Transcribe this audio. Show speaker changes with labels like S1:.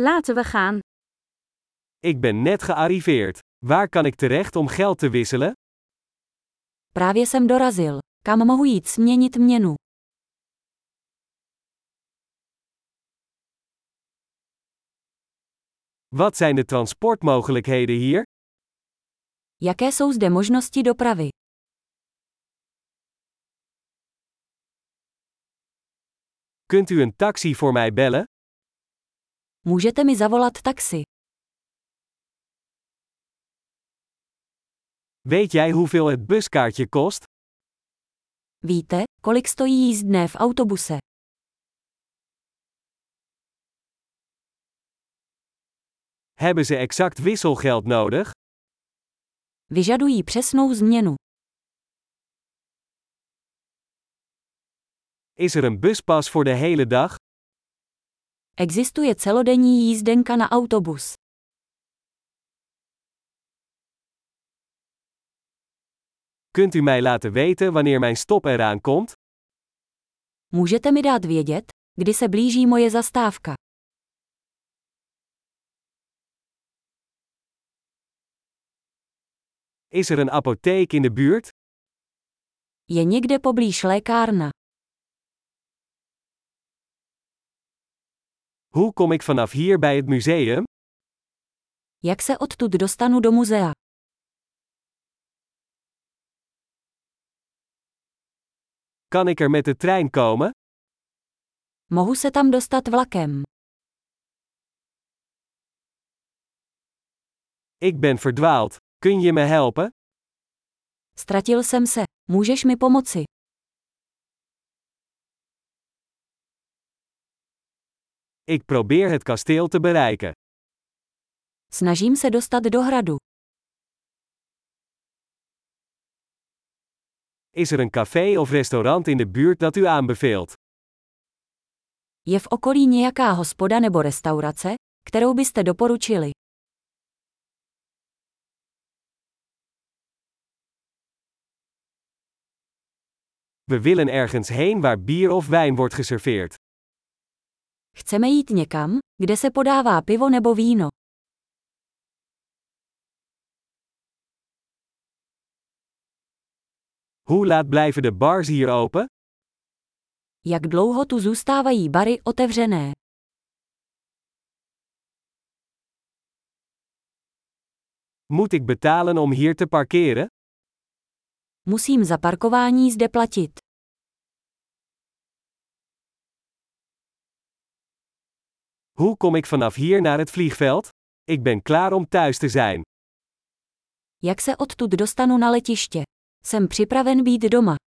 S1: Laten we gaan.
S2: Ik ben net gearriveerd. Waar kan ik terecht om geld te wisselen?
S3: Právě jsem dorazil. Kam mohu jít směnit měnu?
S2: Wat zijn de transportmogelijkheden hier?
S3: Jaké jsou zde možnosti dopravy?
S2: Kunt u een taxi voor mij bellen?
S3: Můžete mi zavolat taxi.
S2: Weet jij hoeveel het buskaartje kost?
S3: Víte, kolik stojí jízdné v autobuse?
S2: Hebben ze exact wisselgeld nodig?
S3: Vyžadují přesnou změnu.
S2: Is er een buspas voor de hele dag?
S3: Existuje celodenní jízdenka na autobus.
S2: Kunt u mij laten weten wanneer mijn stop eraan komt?
S3: Můžete mi dát vědět, kdy se blíží moje zastávka?
S2: Is er een apotheek in de buurt?
S3: Je někde poblíž lékárna.
S2: Hoe kom ik vanaf hier bij het museum?
S3: Jak se odtud dostanu do muzea?
S2: Kan ik er met de trein komen?
S3: Mohu se tam dostat vlakem.
S2: Ik ben verdwaald. Kun je me helpen?
S3: Ztratil jsem se. Můžeš mi pomoci?
S2: Ik probeer het kasteel te bereiken.
S3: Snažím se dostat do hradu.
S2: Is er een café of restaurant in de buurt dat u aanbeveelt?
S3: Je v okolí nějaká hospoda nebo restaurace, kterou byste doporučili?
S2: We willen ergens heen waar bier of wijn wordt geserveerd.
S3: Chceme jít někam, kde se podává pivo nebo víno.
S2: Hoe laat blijven de bars hier open?
S3: Jak dlouho tu zůstávají bary otevřené?
S2: Moet ik betalen om hier te parkeren?
S3: Musím za parkování zde platit.
S2: Hoe kom ik vanaf hier naar het vliegveld? Ik ben klaar om thuis te zijn.
S3: Jak se odtud dostanu na letiště? Jsem připraven být doma.